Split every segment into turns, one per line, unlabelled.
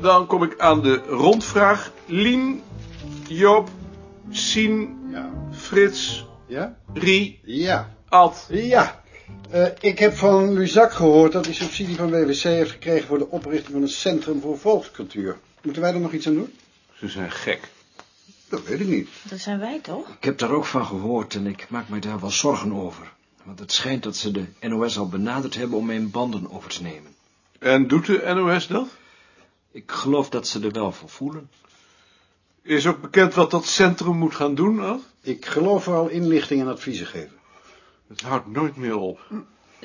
dan kom ik aan de rondvraag. Lien, Joop, Sien,
Ja.
Frits,
Ja?
Rie,
Ja.
Ad.
Ja. Eh, ik heb van Luzak gehoord dat hij subsidie van WWC heeft gekregen voor de oprichting van een centrum voor volkscultuur. Moeten wij er nog iets aan doen?
Ze zijn gek.
Dat weet ik niet.
Dat zijn wij toch?
Ik heb daar ook van gehoord en ik maak mij daar wel zorgen over. Want het schijnt dat ze de NOS al benaderd hebben om mijn banden over te nemen.
En doet de NOS dat?
Ik geloof dat ze er wel voor voelen.
Is ook bekend wat dat centrum moet gaan doen, Ad?
Ik geloof vooral inlichting en adviezen geven.
Het houdt nooit meer op.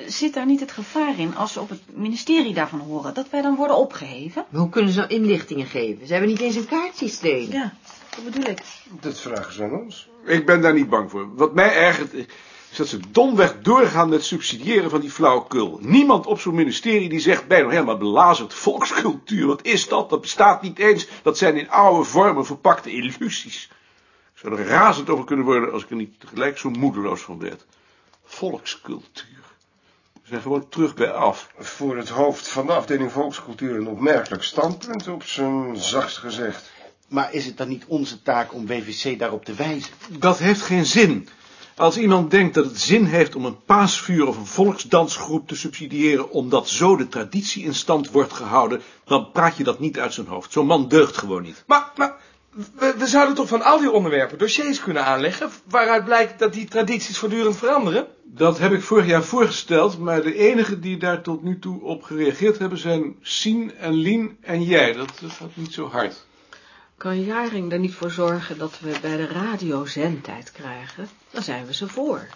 Zit daar niet het gevaar in als we op het ministerie daarvan horen dat wij dan worden opgeheven?
Maar hoe kunnen ze nou inlichtingen geven? Ze hebben niet eens een kaartsysteem.
Ja, dat bedoel ik.
Dat vragen ze aan ons.
Ik ben daar niet bang voor. Wat mij ergert is dat ze domweg doorgaan met subsidiëren van die flauwekul. Niemand op zo'n ministerie die zegt bijna helemaal belazerd volkscultuur. Wat is dat? Dat bestaat niet eens. Dat zijn in oude vormen verpakte illusies. Ik zou er razend over kunnen worden als ik er niet tegelijk zo moedeloos van werd. Volkscultuur. We zijn gewoon terug bij af.
Voor het hoofd van de afdeling volkscultuur een opmerkelijk standpunt, op zijn zachtst gezegd.
Maar is het dan niet onze taak om WVC daarop te wijzen?
Dat heeft geen zin. Als iemand denkt dat het zin heeft om een paasvuur of een volksdansgroep te subsidiëren, omdat zo de traditie in stand wordt gehouden, dan praat je dat niet uit zijn hoofd. Zo'n man deugt gewoon niet.
Maar, maar we, we zouden toch van al die onderwerpen dossiers kunnen aanleggen... waaruit blijkt dat die tradities voortdurend veranderen?
Dat heb ik vorig jaar voorgesteld, maar de enigen die daar tot nu toe op gereageerd hebben zijn Sien en Lien en jij. Dat dat gaat niet zo hard.
Kan Jaring er niet voor zorgen dat we bij de radio zendtijd krijgen? Dan zijn we ze voor.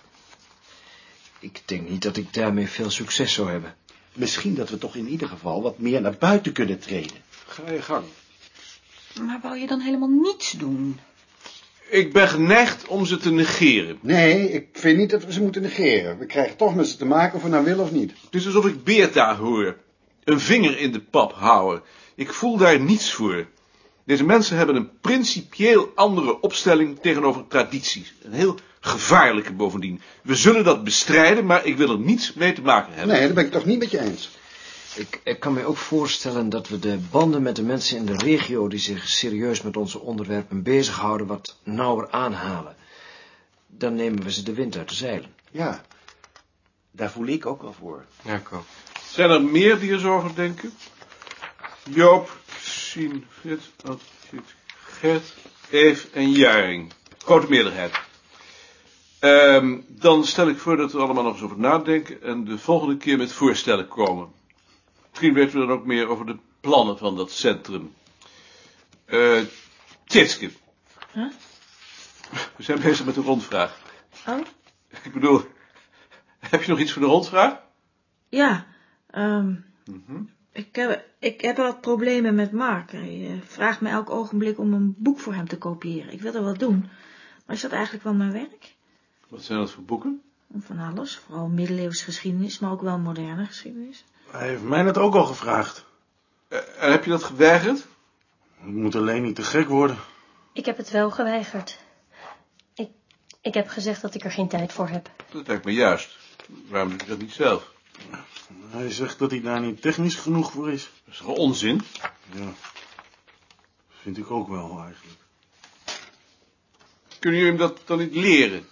Ik denk niet dat ik daarmee veel succes zou hebben.
Misschien dat we toch in ieder geval wat meer naar buiten kunnen treden.
Ga je gang.
Maar wou je dan helemaal niets doen?
Ik ben geneigd om ze te negeren.
Nee, ik vind niet dat we ze moeten negeren. We krijgen toch met ze te maken of we nou willen of niet.
Het is Dus alsof ik Beerta hoor. Een vinger in de pap houden. Ik voel daar niets voor. Deze mensen hebben een principieel andere opstelling tegenover tradities. Een heel gevaarlijke bovendien. We zullen dat bestrijden, maar ik wil er niets mee te maken hebben.
Nee, dat ben ik toch niet met je eens.
Ik, ik kan mij ook voorstellen dat we de banden met de mensen in de regio... die zich serieus met onze onderwerpen bezighouden, wat nauwer aanhalen. Dan nemen we ze de wind uit de zeilen.
Ja, daar voel ik ook wel voor.
Ja, ik ook.
Zijn er meer die er zo over denken? Joop, Sien, Frits, Adjut, Gert, Eef en Jaring. Grote meerderheid. Ehm, dan stel ik voor dat we allemaal nog eens over nadenken en de volgende keer met voorstellen komen. Misschien weten we dan ook meer over de plannen van dat centrum. Eh Tjitske.
Huh?
We zijn bezig met de rondvraag.
Oh?
Ik bedoel, heb je nog iets voor de rondvraag?
Ja, ehm ik, heb, ik heb wat problemen met Mark. Hij eh, vraagt me elk ogenblik om een boek voor hem te kopiëren. Ik wil er wat doen. Maar is dat eigenlijk wel mijn werk?
Wat zijn dat voor boeken?
Van alles, vooral middeleeuwse geschiedenis, maar ook wel moderne geschiedenis.
Hij heeft mij dat ook al gevraagd.
Eh, en heb je dat geweigerd?
Ik moet alleen niet te gek worden.
Ik heb het wel geweigerd. Ik, ik heb gezegd dat ik er geen tijd voor heb.
Dat lijkt me juist. Waarom doe je dat niet zelf?
Hij zegt dat hij daar niet technisch genoeg voor is.
Dat is toch onzin?
Vind ik ook wel eigenlijk.
Kunnen jullie hem dat dan niet leren?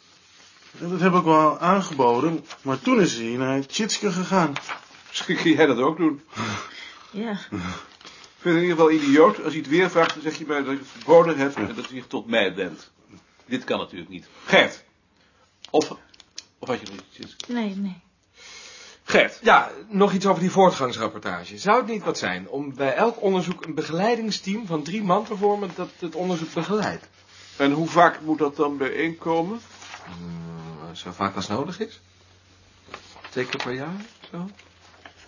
Dat heb ik wel aangeboden, maar toen is hij naar Tjitske gegaan.
Misschien kun jij dat ook doen.
Ja,
Ik vind het in ieder geval idioot. Als hij het weer vraagt, dan zeg je mij dat ik het verboden heb en dat je het tot mij bent. Dit kan natuurlijk niet. Gert. Of, of had je nog iets?
nee, nee.
Gert.
Ja, nog iets over die voortgangsrapportage. Zou het niet wat zijn om bij elk onderzoek een begeleidingsteam van drie man te vormen dat het onderzoek begeleidt?
En hoe vaak moet dat dan bijeenkomen?
Mm, zo vaak als nodig is. Twee keer per jaar, zo.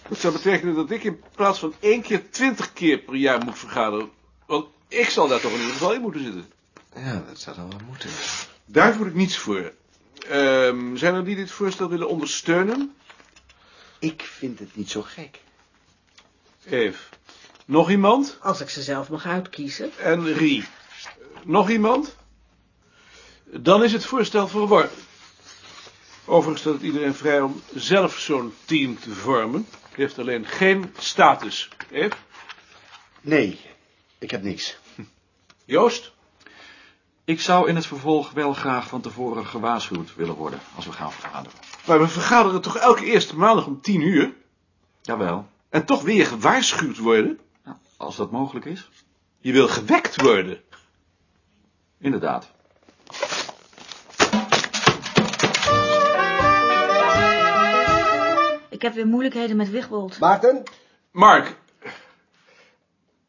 Dat zou betekenen dat ik in plaats van één keer twintig keer per jaar moet vergaderen. Want ik zal daar toch in ieder geval in moeten zitten.
Ja, dat zou dan wel moeten.
Daar voel ik niets voor. Ehm, zijn er die dit voorstel willen ondersteunen?
Ik vind het niet zo gek.
Eve. Nog iemand?
Als ik ze zelf mag uitkiezen.
En Rie. Eh, Nog iemand? Dan is het voorstel verworpen. Overigens staat het iedereen vrij om zelf zo'n team te vormen. Het heeft alleen geen status. Eve?
Nee, Ik heb niks.
Joost?
Ik zou in het vervolg wel graag van tevoren gewaarschuwd willen worden als we gaan vergaderen.
Maar we vergaderen toch elke eerste maandag om tien uur?
Jawel,
En toch weer gewaarschuwd worden?
Nou, als dat mogelijk is.
Je wil gewekt worden.
Inderdaad.
Ik heb weer moeilijkheden met Wigbold.
Maarten?
Mark.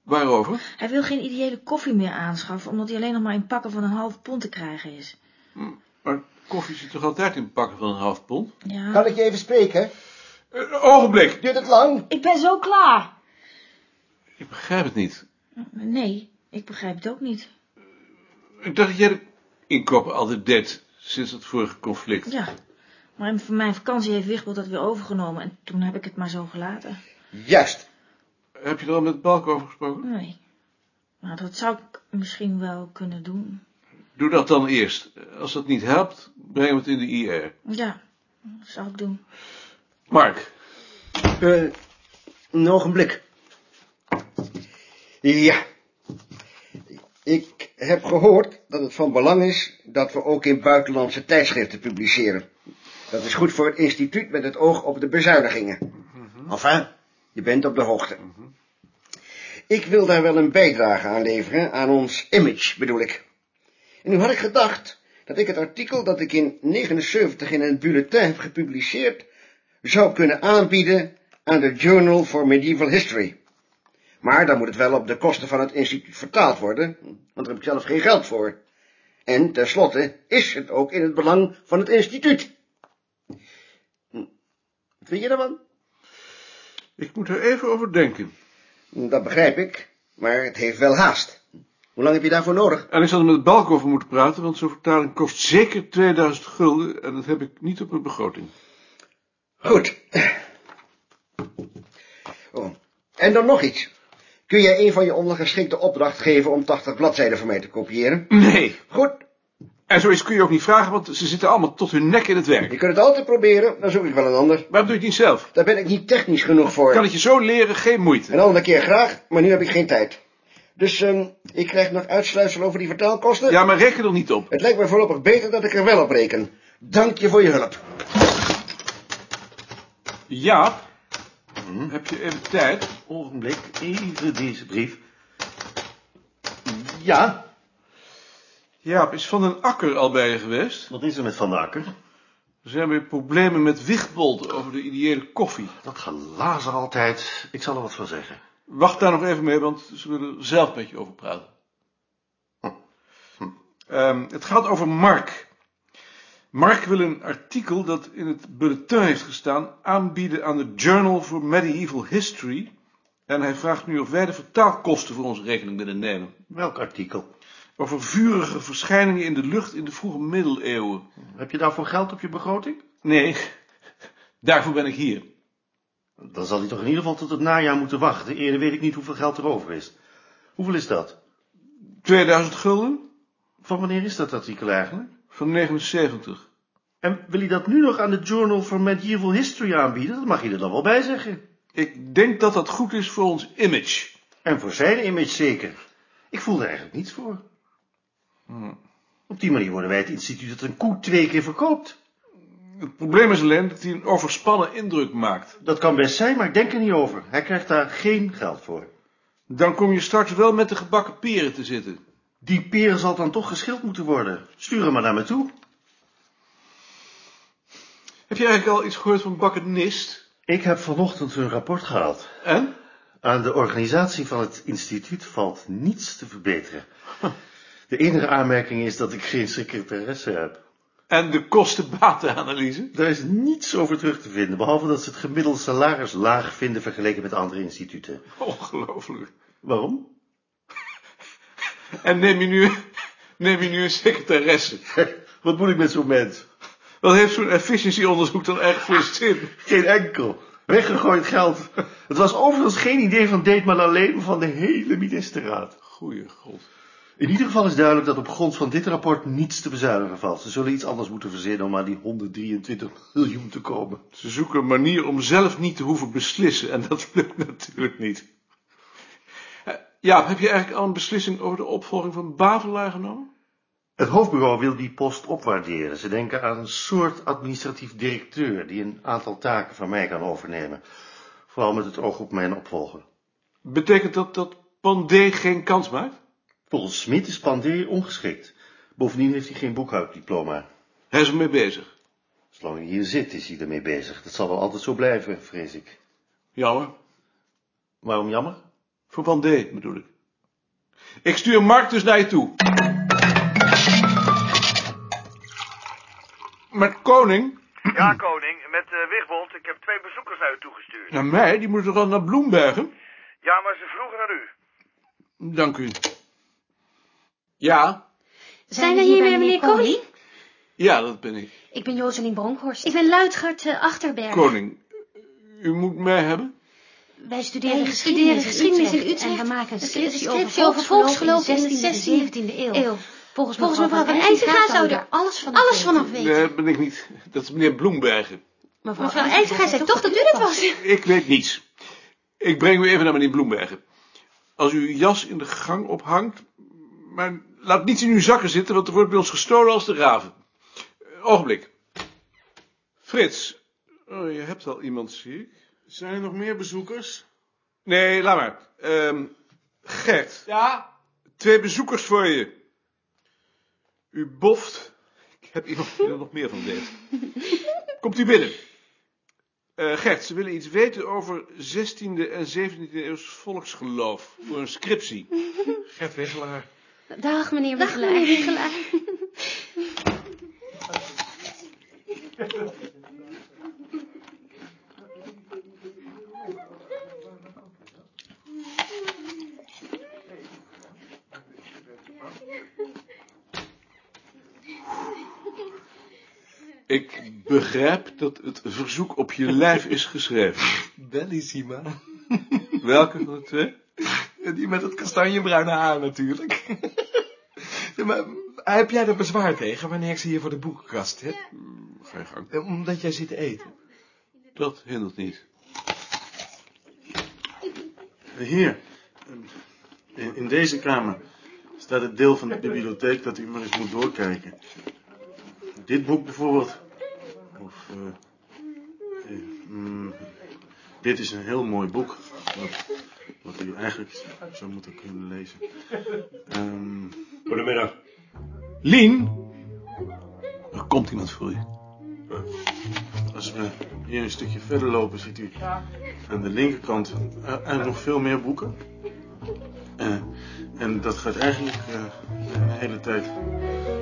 Waarover?
Hij wil geen ideële koffie meer aanschaffen, omdat hij alleen nog maar in pakken van een half pond te krijgen is.
Maar koffie zit toch altijd in pakken van een half pond?
Ja.
Kan ik je even spreken?
Een ogenblik.
Duurt het lang?
Ik ben zo klaar.
Ik begrijp het niet.
Nee, ik begrijp het ook niet.
Ik dacht dat jij de inkopen altijd deed sinds het vorige conflict.
Ja, maar in- van mijn vakantie heeft Wigbold dat weer overgenomen en toen heb ik het maar zo gelaten.
Juist.
Heb je er al met Balk over gesproken?
Nee. Maar dat zou ik misschien wel kunnen doen.
Doe dat dan eerst. Als dat niet helpt, breng hem het in de IR.
Ja, dat zou ik doen.
Mark.
Eh, een ogenblik. Ja. Ik heb gehoord dat het van belang is dat we ook in buitenlandse tijdschriften publiceren. Dat is goed voor het instituut met het oog op de bezuinigingen. Enfin, je bent op de hoogte. Mhm. Ik wil daar wel een bijdrage aan leveren, aan ons image bedoel ik. En nu had ik gedacht dat ik het artikel dat ik in 79 in een bulletin heb gepubliceerd zou kunnen aanbieden aan de Journal for Medieval History. Maar dan moet het wel op de kosten van het instituut vertaald worden, want daar heb ik zelf geen geld voor. En tenslotte is het ook in het belang van het instituut. Hm. Wat vind je daarvan?
Ik moet er even over denken.
Dat begrijp ik, maar het heeft wel haast. Hoe lang heb je daarvoor nodig?
En ik zal er met Balk over moeten praten, want zo'n vertaling kost zeker 2000 gulden. En dat heb ik niet op mijn begroting.
Goed. Oh. En dan nog iets. Kun jij een van je ondergeschikte opdracht geven om 80 bladzijden voor mij te kopiëren?
Nee.
Goed,
En zoiets kun je ook niet vragen, want ze zitten allemaal tot hun nek in het werk.
Je kunt het altijd proberen, dan zoek ik wel een ander.
Waarom doe je het niet zelf?
Daar ben ik niet technisch genoeg voor.
Kan het je zo leren, geen moeite.
Een andere keer graag, maar nu heb ik geen tijd. Dus ehm, ik krijg nog uitsluitsel over die vertaalkosten.
Ja, maar reken er niet op.
Het lijkt me voorlopig beter dat ik er wel op reken. Dank je voor je hulp.
Jaap, heb je even tijd?
Hmm? Ogenblik, even deze brief. Ja?
Jaap, is Van den Akker al bij je geweest?
Wat is er met Van den Akker?
Er zijn weer problemen met Wichtbold over de ideële koffie.
Dat gelazer altijd. Ik zal er wat van zeggen.
Wacht daar nog even mee, want ze willen er zelf met je over praten. Ehm, het gaat over Mark. Mark wil een artikel dat in het bulletin heeft gestaan aanbieden aan de Journal for Medieval History. En hij vraagt nu of wij de vertaalkosten voor onze rekening willen nemen.
Welk artikel?
Over vurige verschijningen in de lucht in de vroege middeleeuwen.
Heb je daarvoor geld op je begroting?
Nee, daarvoor ben ik hier.
Dan zal hij toch in ieder geval tot het najaar moeten wachten. Eerder weet ik niet hoeveel geld er over is. Hoeveel is dat?
2000 gulden?
Van wanneer is dat artikel eigenlijk?
Van 79.
En wil hij dat nu nog aan de Journal for Medieval History aanbieden? Dat mag je er dan wel bij zeggen.
Ik denk dat dat goed is voor ons image.
En voor zijn image zeker. Hmm. Ik voel er eigenlijk niets voor. Op die manier worden wij het instituut dat een koe twee keer verkoopt.
Het probleem is alleen dat hij een overspannen indruk maakt.
Dat kan best zijn, maar ik denk er niet over. Hij krijgt daar geen geld voor.
Dan kom je straks wel met de gebakken peren te zitten.
Die peren zal dan toch geschild moeten worden. Stuur hem maar naar me toe.
Heb je eigenlijk al iets gehoord van Bakkenist?
Ik heb vanochtend hun rapport gehaald.
En?
Aan de organisatie van het instituut valt niets te verbeteren. De enige aanmerking is dat ik geen secretaresse heb.
En de kosten-batenanalyse?
Daar is niets over terug te vinden, behalve dat ze het gemiddelde salaris laag vinden vergeleken met andere instituten.
Ongelooflijk.
Waarom?
En neem je nu, neem je nu een secretaresse?
Wat moet ik met zo'n mens?
Wat heeft zo'n efficiëntieonderzoek dan echt voor zin?
Geen enkel. Weggegooid geld. Het was overigens geen idee van Deetman alleen, maar van de hele ministerraad.
Goeie god.
In ieder geval is duidelijk dat op grond van dit rapport niets te bezuinigen valt. Ze zullen iets anders moeten verzinnen om aan die 123 miljoen te komen.
Ze zoeken een manier om zelf niet te hoeven beslissen en dat lukt natuurlijk niet. Eh, Ja, heb je eigenlijk al een beslissing over de opvolging van Bavelaar genomen?
Het hoofdbureau wil die post opwaarderen. Ze denken aan een soort administratief directeur die een aantal taken van mij kan overnemen. Vooral met het oog op mijn opvolger.
Betekent dat dat Pandé geen kans maakt?
Volgens Smit is Pandé ongeschikt. Bovendien heeft hij geen boekhouddiploma.
Hij is ermee bezig.
Zolang hij hier zit, is hij ermee bezig. Dat zal wel altijd zo blijven, vrees ik.
Jammer.
Waarom jammer?
Voor Pandé bedoel ik. Ik stuur Mark dus naar je toe. Met koning?
Ja, koning, met eh Wigbold. Ik heb twee bezoekers naar u toegestuurd.
Naar mij? Die moet toch al naar Bloembergen?
Ja, maar ze vroegen naar u.
Dank u. Ja?
Zijn we hier bij meneer Koning?
Ja, dat ben ik.
Ik ben Joseline Bronkhorst. Ik ben Luitgert eh, Achterberg.
Koning, u moet mij hebben?
Wij studeren
Wij
geschiedenis,
studeren geschiedenis
in
in
Utrecht.
Utrecht.
En we maken een
Een
scriptie
scriptie
over volksgeloof in de 16e en
16e
17e eeuw.
eeuw.
Volgens,
Volgens
mevrouw Van Eijzenga zou er alles van alles vanaf weten.
Nee, dat ben ik niet. Dat is meneer Bloembergen.
Mevrouw Van Eijzenga zei toch dat u dat was.
Ik weet niets. Ik breng u even naar meneer Bloembergen. Als u uw jas in de gang ophangt... Maar laat niets in uw zakken zitten, want er wordt bij ons gestolen als de raven. Eh, Ogenblik. Frits. Oh, je hebt al iemand, zie ik.
Zijn er nog meer bezoekers?
Nee, laat maar. Ehm Gert.
Ja?
Twee bezoekers voor je. U boft. Ik heb iemand die er nog meer van weet. Komt u binnen. Eh, Gert, ze willen iets weten over 16e en 17e eeuws volksgeloof. Voor een scriptie.
Gert Wichelaar.
Dag meneer
Dag,
Wiegelaar.
meneer Wiegelaar.
Ik begrijp dat het verzoek op je lijf is geschreven.
Bellissima.
Welke van de twee?
Die met het kastanjebruine haar natuurlijk. Ja, maar heb jij er bezwaar tegen wanneer ik ze hier voor de boekenkast heb?
Ga je gang.
Eh, Omdat jij zit te eten.
Dat hindert niet.
Hier, in, in deze kamer staat het deel van de bibliotheek dat u maar eens moet doorkijken. Dit boek bijvoorbeeld. Of, eh, eh, mm, dit is een heel mooi boek. Wat, wat u eigenlijk zou moeten kunnen lezen. Ehm
Goedemiddag.
Lien? Er komt iemand voor je.
Als we hier een stukje verder lopen, ziet u aan de linkerkant eh, eh, nog veel meer boeken. Eh, en dat gaat eigenlijk eh, een hele tijd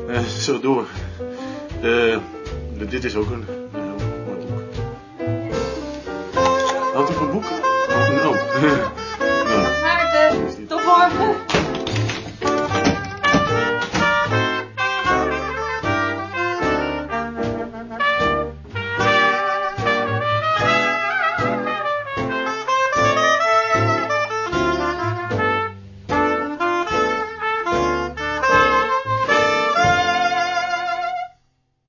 eh, zo door. De, de- dit is ook een, eh, een heel mooi boek. Had u van boeken? Oh, no.
Maarten, tot morgen.